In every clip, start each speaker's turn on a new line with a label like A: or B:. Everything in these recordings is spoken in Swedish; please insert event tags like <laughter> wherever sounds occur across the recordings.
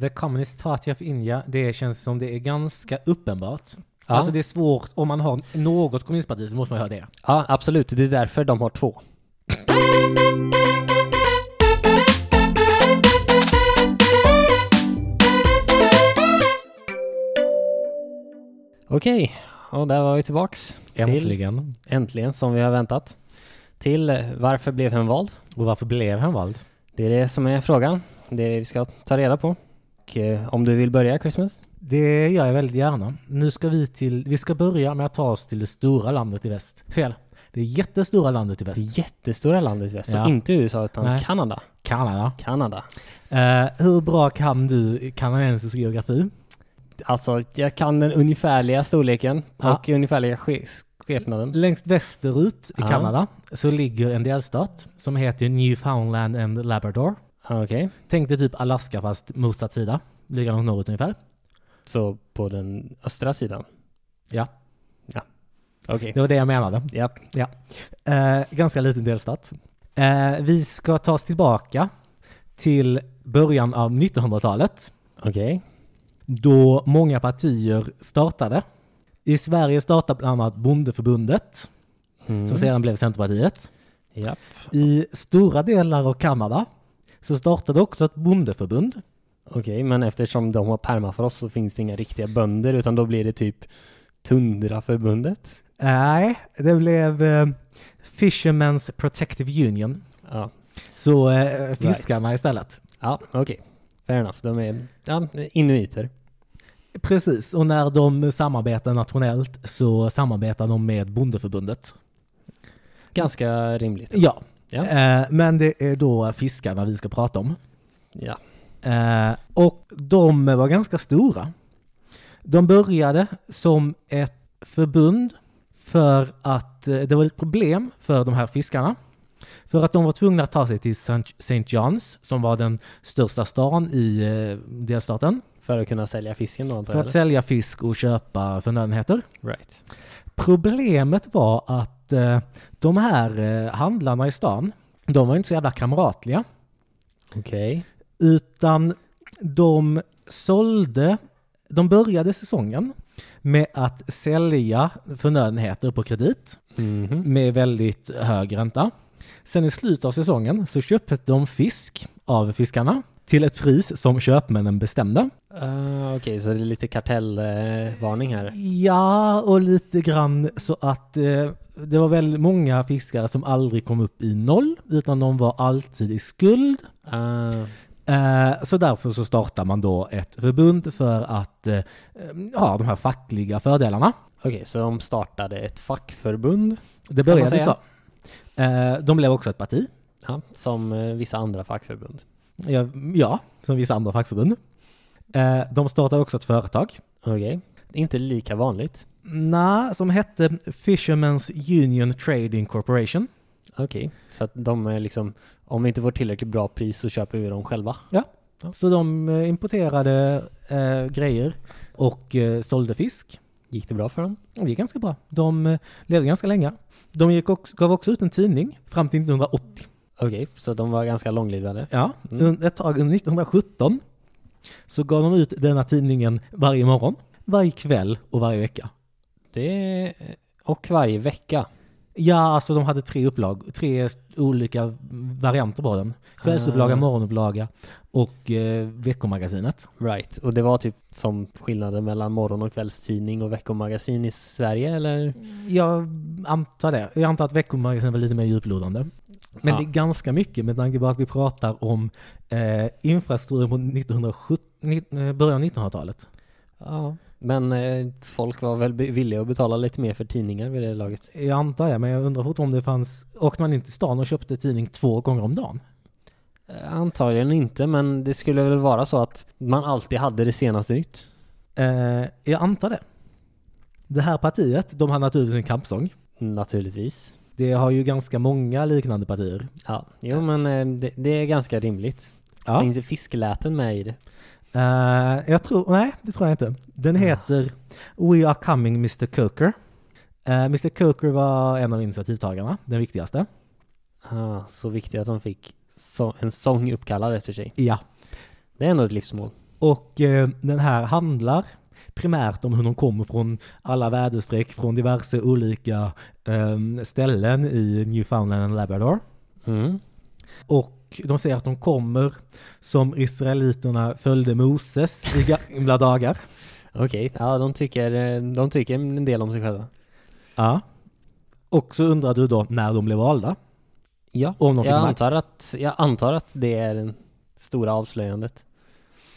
A: The Communist Party of India, det känns som det är ganska uppenbart. Alltså det är svårt, om man har något kommunistparti så måste man ha det.
B: Ja, absolut. Det är därför de har två. Okej, och där var vi tillbaks. Till,
A: Äntligen.
B: äntligen, som vi har väntat. Till eh, varför blev han vald?
A: Och varför blev han vald?
B: Det är det som är frågan. Det är det vi ska ta reda på. Och, eh, om du vill börja, Christmas?
A: Det gör jag väldigt gärna. Nu ska vi till, vi ska börja med att ta oss till det stora landet i väst. Fel. Det jättestora landet i
B: Det
A: väst.
B: jättestora landet i väst, så
A: Ja.
B: inte USA utan
A: Nej.
B: Kanada.
A: Kanada.
B: Kanada.
A: Eh, hur bra kan du i kanadensisk geografi?
B: Alltså, jag kan den ungefärliga storleken
A: Ja.
B: och ungefärliga ske- skepnaden.
A: Längst västerut i
B: Ja.
A: Kanada så ligger en delstat som heter Newfoundland and Labrador.
B: Ja, Ah, Okej,
A: Tänk dig typ Alaska fast motsatt sida. Ligger något norrut ungefär.
B: så på den östra sidan.
A: Ja,
B: Okej,
A: det var det jag menade.
B: ja.
A: Eh, ganska liten delstat. Eh, vi ska ta oss tillbaka till början av 1900-talet.
B: Okej,
A: då många partier startade. I Sverige startade bland annat Bondeförbundet,
B: Mm.
A: som sedan blev Centerpartiet.
B: ja.
A: I stora delar av Kanada så startade också ett bondeförbund.
B: Okej, men eftersom de har permafrost så finns det inga riktiga bönder utan då blir det typ Tundraförbundet.
A: Nej, det blev eh, Fishermen's Protective Union.
B: Ja,
A: Så eh, fiskarna istället.
B: ja okej. Fair enough. De är ja, inuiter.
A: Precis, och när de samarbetar nationellt så samarbetar de med bondeförbundet.
B: Ganska rimligt.
A: Ja,
B: Ja.
A: Eh, men det är då fiskarna vi ska prata om.
B: Ja.
A: Eh, och de var ganska stora. De började som ett förbund för att eh, det var ett problem för de här fiskarna. För att de var tvungna att ta sig till Saint- St. John's som var den största stan i eh, delstaten
B: För att kunna sälja fisken då antar
A: för
B: jag?
A: att sälja fisk och köpa förnödenheter.
B: eller? Right.
A: Problemet var att eh, de här eh, handlarna i stan, de var inte så jävla kamratliga.
B: Okej.
A: Utan de sålde, de började säsongen med att sälja förnödenheter på kredit
B: Mhm.
A: med väldigt hög ränta. Sen i slutet av säsongen så köpte de fisk av fiskarna till ett pris som köpmännen bestämde.
B: Ah, Okej, så det är lite kartellvarning här.
A: Ja, och lite grann så att eh, det var väldigt många fiskare som aldrig kom upp i noll, utan de var alltid i skuld.
B: Ah,
A: Eh, Så därför så startar man då ett förbund för att eh, ha de här fackliga fördelarna.
B: Okej, så de startade ett fackförbund
A: Det
B: man
A: började
B: säga?
A: så. Eh, De blev också ett parti,
B: ja, som eh, vissa andra fackförbund.
A: Ja, ja, som vissa andra fackförbund. Eh, De startade också ett företag,
B: Okej. Inte lika vanligt.
A: Nä, som hette Fishermen's Union Trading Corporation.
B: Okej, så att de är liksom, om vi inte får tillräckligt bra pris så köper vi dem själva.
A: Så de eh, importerade eh, grejer och eh, sålde fisk.
B: Gick det bra för dem?
A: Det gick ganska bra. De eh, levde ganska länge. De gick också, gav också ut en tidning fram till 1980.
B: Okej, så de var ganska långlivade.
A: Ja,
B: Mm.
A: un- ett tag under 1917 så gav de ut denna tidningen varje morgon, varje kväll och varje vecka.
B: Det... Och varje vecka.
A: Ja, alltså de hade tre upplag, tre olika varianter på den. Kvällsupplaga,
B: Ah.
A: morgonupplaga och eh, veckomagasinet.
B: Right. Och det var typ som skillnaden mellan morgon och kvällstidning och veckomagasin i Sverige eller?
A: Jag antar det. Jag antar att veckomagasinet var lite mer djuplodande. Men
B: Ja.
A: det är ganska mycket med tanke på att vi pratar om eh, infrastruktur på 1970, ni- eh, början av 1900-talet.
B: Ja. Men eh, folk var väl be- villiga att betala lite mer för tidningar vid det laget?
A: Jag antar det, men jag undrar fortfarande om det fanns... Åkte man inte till stan och köpte tidning två gånger om dagen?
B: Eh, Antagligen inte, men det skulle väl vara så att man alltid hade det senaste nytt?
A: Eh, jag antar det. Det här partiet, de har naturligtvis en kampsång.
B: Naturligtvis.
A: Det har ju ganska många liknande partier.
B: Ja, jo men eh, det, det är ganska rimligt.
A: Ja.
B: Finns det fiskläten med i det?
A: Eh, jag tror... Nej, det tror jag inte. Den
B: Ah.
A: heter We Are Coming Mr Coker. Eh, Mr Coker var en av initiativtagarna, den viktigaste.
B: Ah, så viktigt att de fick så, en sång uppkallad efter sig.
A: Ja.
B: Det är ändå ett livsmål.
A: Och eh, den här handlar primärt om hur de kommer från alla väderstreck från diverse olika eh, ställen i Newfoundland och Labrador.
B: Mm.
A: Och de säger att de kommer som israeliterna följde Moses i gamla dagar.
B: Okej, ja de tycker, eh, de tycker en del om sig själva.
A: Ja. Och så undrar du då när de blev valda.
B: Ja,
A: Om de
B: jag
A: fick makt.
B: antar, att, jag antar att det är det stora avslöjandet.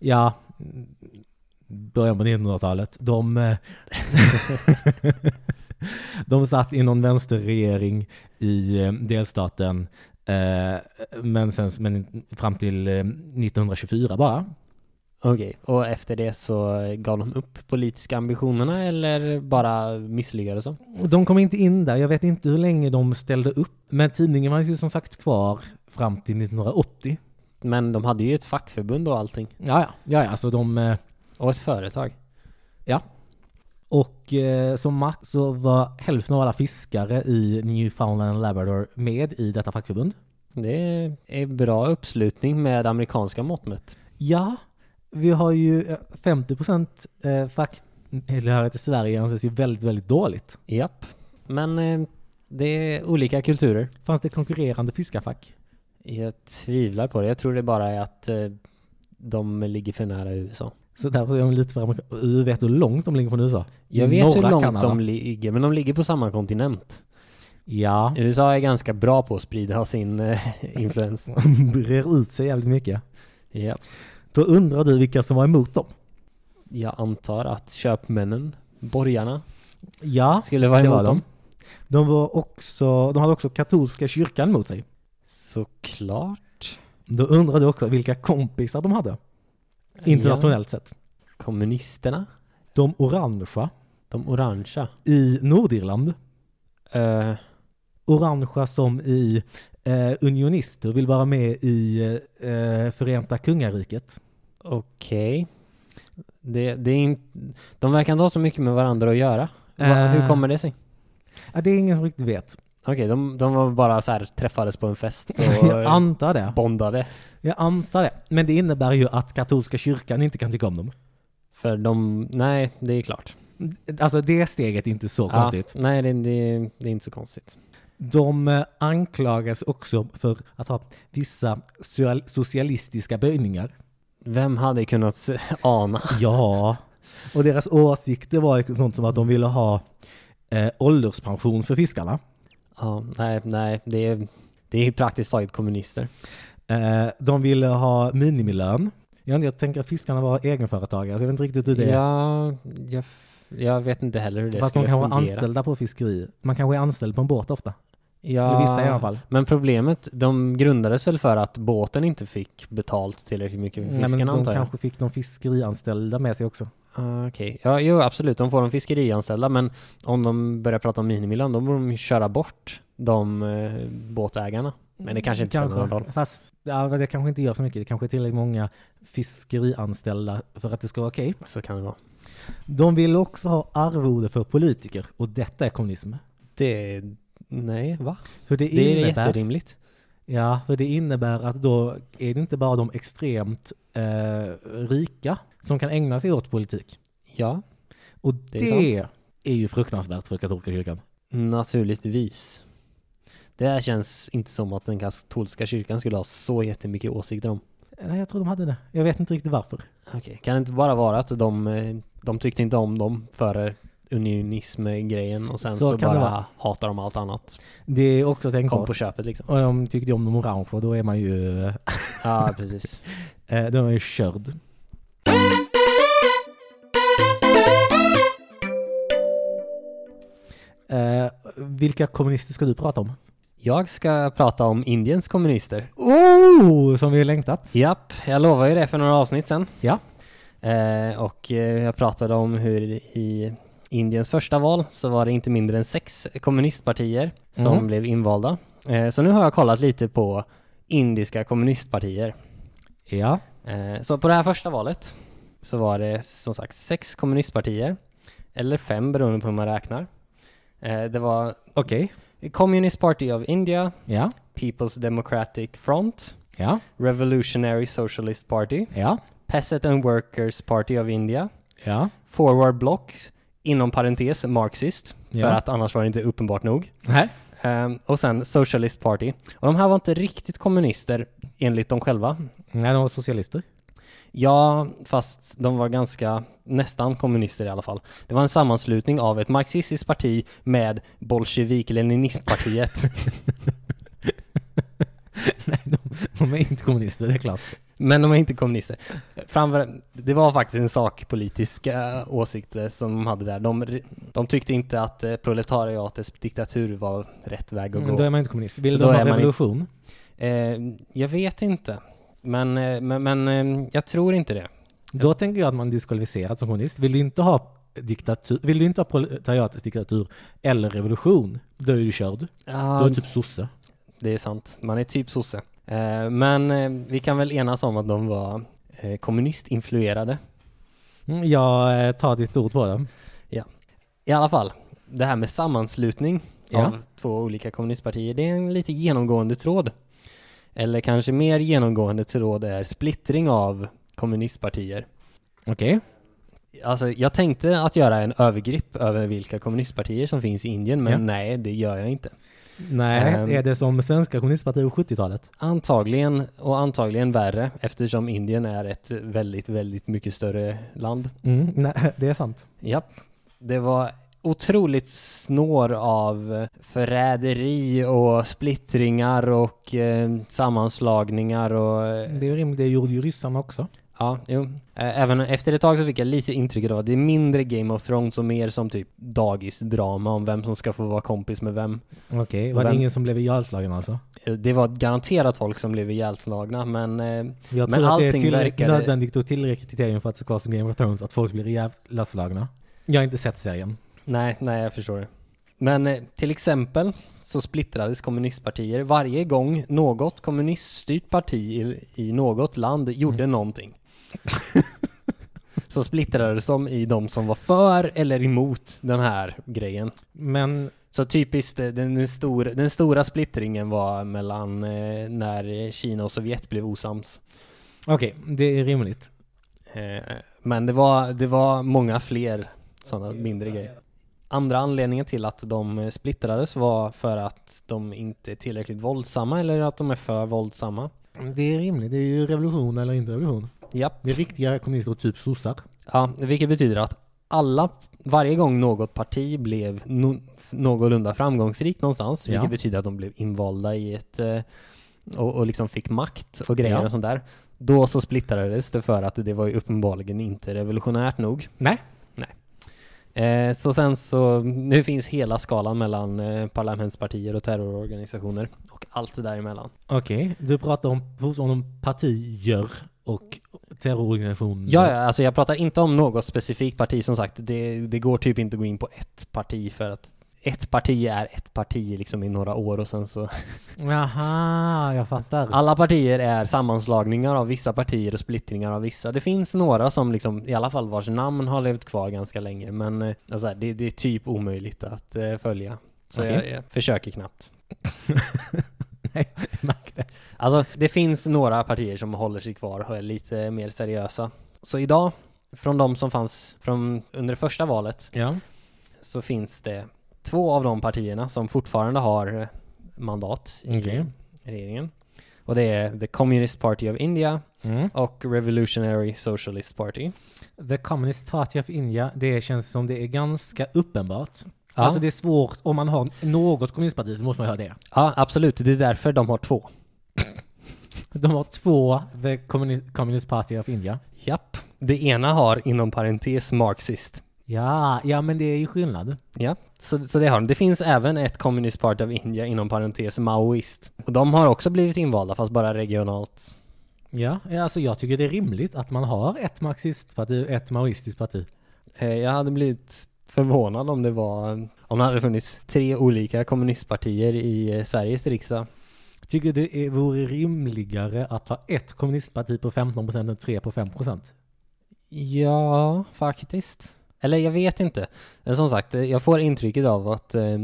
A: Ja, mm, början på 1900-talet. De, eh, <laughs> de satt i någon vänsterregering i eh, delstaten, eh, men, sen, men fram till eh, 1924 bara.
B: Okej, och efter det så gav de upp politiska ambitionerna eller bara misslyckades de?
A: De kom inte in där, jag vet inte hur länge de ställde upp, men tidningen var ju som sagt kvar fram till 1980.
B: Men de hade ju ett fackförbund och allting.
A: Ja, ja, ja, ja, så de... eh,
B: Och ett företag.
A: Ja. Och eh, som makt så var hälften av alla fiskare i Newfoundland och Labrador med i detta fackförbund.
B: Det är bra uppslutning med amerikanska mått mätt.
A: Ja, vi har ju eh, 50 procent eh, facktillhörighet i Sverige anses ju väldigt, väldigt dåligt.
B: Japp. Men eh, det är olika kulturer.
A: Fanns det konkurrerande fiskarfack?
B: Jag tvivlar på det. Jag tror det bara är att eh, de ligger för nära USA.
A: Så därför är de lite för amerikanska. Du vet hur långt de ligger från USA?
B: Jag vet hur
A: Norra
B: långt
A: Kanada.
B: de ligger, men de ligger på samma kontinent.
A: Ja, <laughs>
B: USA är ganska bra på att sprida sin eh, <laughs> influens.
A: brer ut sig jävligt mycket.
B: Ja.
A: Då undrar du vilka som var emot dem?
B: Jag antar att köpmännen, borgarna,
A: Ja,
B: skulle vara
A: det
B: emot
A: var de.
B: dem.
A: De, var också, de hade också katolska kyrkan mot sig.
B: Såklart.
A: Då undrar du också vilka kompisar de hade, internationellt sett.
B: Ja. Kommunisterna,
A: De orangea
B: de orangea.
A: i Nordirland,
B: Eh,
A: orangea som i eh, unionister vill vara med i eh, Förenta Kungariket.
B: Okej. Det, det är in... De verkar inte ha så mycket med varandra att göra. Va,
A: Eh.
B: Hur kommer det sig?
A: Ja, det är ingen som riktigt vet.
B: Okej, de, de var bara så här, träffades på en fest
A: <laughs> Jag
B: och
A: antar det.
B: bondade.
A: Jag antar det. Men det innebär ju att katolska kyrkan inte kan tycka om dem.
B: För de, nej, det är klart.
A: Alltså det steget är inte så
B: Ja,
A: konstigt.
B: nej, det, det, det är inte så konstigt.
A: De eh, anklagas också för att ha vissa social- socialistiska böjningar.
B: Vem hade kunnat se- <laughs> ana?
A: Ja, och deras åsikter var liksom sånt som att de ville ha eh, ålderspension för fiskarna.
B: Ja, nej, nej, det är, det är ju praktiskt taget kommunister.
A: Eh, de ville ha minimilön. Jag, vet inte, jag tänker att fiskarna var egenföretagare, så jag vet inte riktigt hur det är.
B: Ja, jag, f- jag vet inte heller hur det
A: Fast de
B: skulle
A: kanske var
B: fungera.
A: anställda på fiskeri. Man kanske är anställd på en båt ofta.
B: Ja,
A: Eller vissa i alla fall.
B: Men problemet, de grundades väl för att båten inte fick betalt tillräckligt mycket för
A: Nej, men
B: fiskarna
A: de
B: antar jag?
A: kanske fick de fiskerianställda med sig också.
B: Ah, Okej, ja, jo absolut, de får de fiskerianställda men om de börjar prata om minimilön då borde de ju köra bort de eh, båtägarna. Men
A: Mm,
B: det kanske inte spelar någon roll.
A: Fast ja, det kanske inte gör så mycket. Det kanske är tillräckligt många fiskerianställda för att det ska vara okej.
B: Så kan det vara.
A: De ville också ha arvode för politiker och detta är kommunism.
B: Det, nej va?
A: För det,
B: Det är
A: innebär
B: jätterimligt.
A: Ja, för det innebär att då är det inte bara de extremt eh, rika som kan ägna sig åt politik.
B: Ja,
A: Och
B: Det
A: det,
B: är
A: är, ju fruktansvärt för katolska kyrkan.
B: naturligtvis. Det här känns inte som att den katolska kyrkan skulle ha så jättemycket åsikter om.
A: Nej, jag tror de hade det. Jag vet inte riktigt varför.
B: Okej, kan det inte bara vara att de, eh, de tyckte inte om dem för unionism-grejen och sen så,
A: Så kan det
B: bara
A: vara.
B: hatar de allt annat.
A: Det är också
B: Kom på
A: tänkbart.
B: köpet liksom.
A: Och de tyckte ju om de orangea, då är man ju, eh,
B: Ja, precis.
A: då är man ju körd. Eh, vilka kommunister ska du prata om?
B: <laughs> Jag ska prata om Indiens kommunister.
A: Oh, som vi har längtat.
B: Japp, jag lovade ju det för några avsnitt sen.
A: Ja.
B: Eh, och eh, jag pratade om hur i Indiens första val så var det inte mindre än sex kommunistpartier som
A: Mhm.
B: blev invalda. Eh, så nu har jag kollat lite på indiska kommunistpartier.
A: Ja.
B: Eh, Så på det här första valet så var det som sagt sex kommunistpartier, eller fem beroende på hur man räknar. Eh, Det var
A: Okej.
B: Communist Party of India,
A: Ja.
B: People's Democratic Front,
A: Ja.
B: Revolutionary Socialist Party,
A: Ja.
B: Peasant and Workers Party of India,
A: Ja.
B: Forward Block, inom parentes marxist,
A: Ja.
B: för att annars var det inte uppenbart nog.
A: Nej.
B: Ehm, och sen Socialist Party. Och de här var inte riktigt kommunister enligt dem själva.
A: Nej, de var socialister.
B: Ja, fast de var ganska nästan kommunister i alla fall. Det var en sammanslutning av ett marxistiskt parti med bolsjevik-leninistpartiet.
A: Nej, de, de är inte kommunister, det är klart.
B: <laughs> Men de är inte kommunister. Framför, det var faktiskt en sakpolitisk eh, åsikt eh, som de hade där. De, de tyckte inte att eh, proletariatets diktatur var rätt väg att
A: Mm,
B: gå.
A: då är man inte kommunist. Vill
B: Så
A: de
B: då
A: ha
B: är man i-
A: revolution?
B: Eh, jag vet inte. Men, eh, men, men eh, jag tror inte det.
A: Då tänker jag att man är diskvalificerad som kommunist. Vill du inte ha diktatur, vill du inte ha proletariatets diktatur eller revolution, då är du körd. Då är du typ sosse.
B: Det är sant. Man är typ sosse. Eh, men eh, vi kan väl enas om att de var eh, kommunistinfluerade.
A: Mm, jag eh, tar ditt ord på det.
B: I alla fall, det här med sammanslutning
A: Ja.
B: av två olika kommunistpartier, det är en lite genomgående tråd. Eller kanske mer genomgående tråd är splittring av kommunistpartier.
A: Okej.
B: Alltså, jag tänkte att göra en övergrepp över vilka kommunistpartier som finns i Indien, men
A: Ja.
B: nej, det gör jag inte.
A: Nej,
B: Ehm.
A: är det som svenska kommunistpartiet på 70-talet?
B: Antagligen, och antagligen värre, eftersom Indien är ett väldigt, väldigt mycket större land.
A: Mm, nej, det är sant.
B: Ja, det var otroligt snår av förräderi och splittringar och eh, sammanslagningar och eh,
A: Det är rimligt, det gjorde ju ryssarna också.
B: ja, jo. Eh, Även efter ett tag så fick jag lite intrycket av att det är mindre Game of Thrones och mer som typ dagisdrama om vem som ska få vara kompis med vem.
A: Okej, var det
B: Vem-
A: ingen som blev ihjälslagen alltså?
B: Eh, Det var garanterat folk som blev ihjälslagna men eh,
A: Jag
B: Men
A: tror att det är
B: allting
A: tillräck-
B: verkade-
A: nödvändigt och tillräckligt kriterium för att det ska vara som Game of Thrones, att folk blir ihjälslagna. Jag har inte sett serien.
B: Nej, nej jag förstår det. Men eh, till exempel så splittrades kommunistpartier varje gång något kommuniststyrt parti i, i något land gjorde någonting. <laughs> så splittrades de i de som var för eller emot den här grejen.
A: Men
B: Så typiskt, eh, den, den, stor, den stora splittringen var mellan eh, när Kina och Sovjet blev osams.
A: okej, det är rimligt.
B: Eh, Men det var, det var många fler sådana mindre grejer. Andra anledningen till att de eh, splittrades var för att de inte är tillräckligt våldsamma eller att de är för våldsamma.
A: Det är rimligt. Det är ju revolution eller inte revolution.
B: Japp.
A: Det är riktiga kommunister och typ sossar.
B: Ja, vilket betyder att alla, varje gång något parti blev no, någorlunda framgångsrikt någonstans,
A: Ja.
B: vilket betyder att de blev invalda i ett eh, och, och liksom fick makt och grejer
A: Ja.
B: och sånt där. Då så splittrades det för att det var ju uppenbarligen inte revolutionärt nog.
A: Nej.
B: Eh, så sen så, nu finns hela skalan mellan eh, parlamentspartier och terrororganisationer och allt däremellan.
A: Okej, du pratar om, fortfarande om partier och terrororganisationer.
B: Ja, ja, alltså jag pratar inte om något specifikt parti som sagt. Det, det går typ inte att gå in på ett parti för att ett parti är ett parti liksom i några år och sen så
A: Jaha, jag fattar. <laughs>
B: alla partier är sammanslagningar av vissa partier och splittringar av vissa. Det finns några som liksom i alla fall vars namn har levt kvar ganska länge men eh, alltså, det, det är typ omöjligt att eh, följa. Så
A: Okej.
B: jag, jag försöker knappt.
A: Nej, jag märker det.
B: Alltså det finns några partier som håller sig kvar och är lite mer seriösa. Så idag, från de som fanns från under första valet,
A: Ja.
B: så finns det två av de partierna som fortfarande har eh, mandat i
A: Okej.
B: regeringen. Och det är The Communist Party of India
A: Mm.
B: och Revolutionary Socialist Party.
A: The Communist Party of India, det känns som det är ganska uppenbart. Alltså det är svårt, om man har något kommunistparti så måste man ha det.
B: ja, absolut. Det är därför de har två.
A: De har två The Communi- Communist Party of India.
B: Japp. Det ena har inom parentes marxist.
A: Ja, ja men det är ju skillnad.
B: Ja, så, så det har de. Det finns även ett Communist Party of India inom parentes maoist. Och de har också blivit invalda fast bara regionalt.
A: Ja, alltså jag tycker det är rimligt att man har ett marxistparti och ett maoistiskt parti.
B: Eh, Jag hade blivit förvånad om det var om det hade funnits tre olika kommunistpartier i eh, Sveriges riksdag.
A: Tycker det är, vore rimligare att ha ett kommunistparti på 15% än tre på 5%?
B: Ja, faktiskt. Eller jag vet inte. Men som sagt, eh, jag får intrycket av att eh,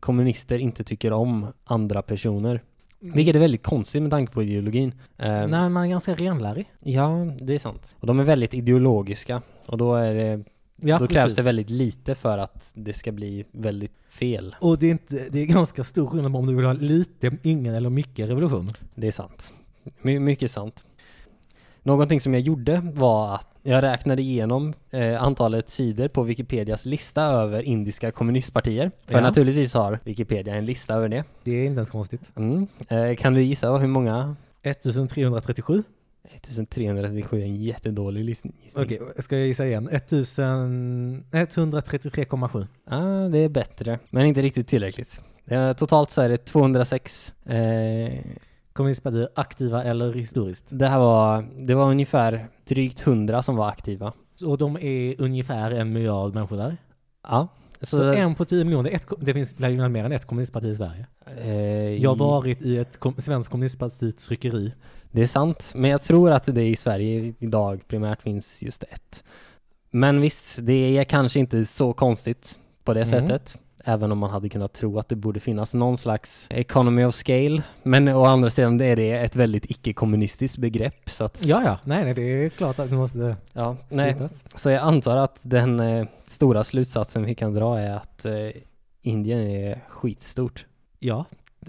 B: kommunister inte tycker om andra personer. Vilket är väldigt konstigt med tanke på ideologin. Eh,
A: Nej, man är ganska renlärig.
B: Ja, det är sant. Och de är väldigt ideologiska. Och då, är det,
A: Ja,
B: då krävs
A: precis.
B: det väldigt lite för att det ska bli väldigt fel.
A: Och det är, inte, det är ganska stor skillnad om du vill ha lite, ingen eller mycket revolution.
B: Det är sant. My mycket sant. Någonting som jag gjorde var att jag räknade igenom eh, antalet sidor på Wikipedias lista över indiska kommunistpartier. För
A: Ja.
B: naturligtvis har Wikipedia en lista över det.
A: Det är inte ens konstigt.
B: Mm. Eh, kan du gissa hur många?
A: 1337.
B: 1337 är en jättedålig list- gissning.
A: Okej, ska jag gissa igen? 1000 133,7.
B: Ah, det är bättre, men inte riktigt tillräckligt. Eh, totalt så är det 206. Eh,
A: Kommunistpartier, aktiva eller historiskt.
B: det här var, det var ungefär drygt 100 som var aktiva.
A: Och de är ungefär en miljard människor där.
B: Ja. Så,
A: Så, en på 10 miljoner, ett, kom- det finns lär ju mer än ett kommunistparti i Sverige.
B: eh,
A: Jag har varit i ett kom, svenskt kommunistpartis tryckeri.
B: Det är sant, men jag tror att det i Sverige idag primärt finns just ett. Men visst, det är kanske inte så konstigt på det
A: Mm.
B: sättet. Även om man hade kunnat tro att det borde finnas någon slags economy of scale. Men å andra sidan är det ett väldigt icke-kommunistiskt begrepp. Så att,
A: Ja, ja, nej, nej, det är klart att det måste
B: ja, nej.
A: splittras.
B: Så jag antar att den eh, stora slutsatsen vi kan dra är att eh, Indien är skitstort.
A: Ja,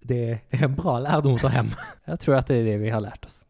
A: det är en bra lärdom att ta hem.
B: Jag tror att det är det vi har lärt oss.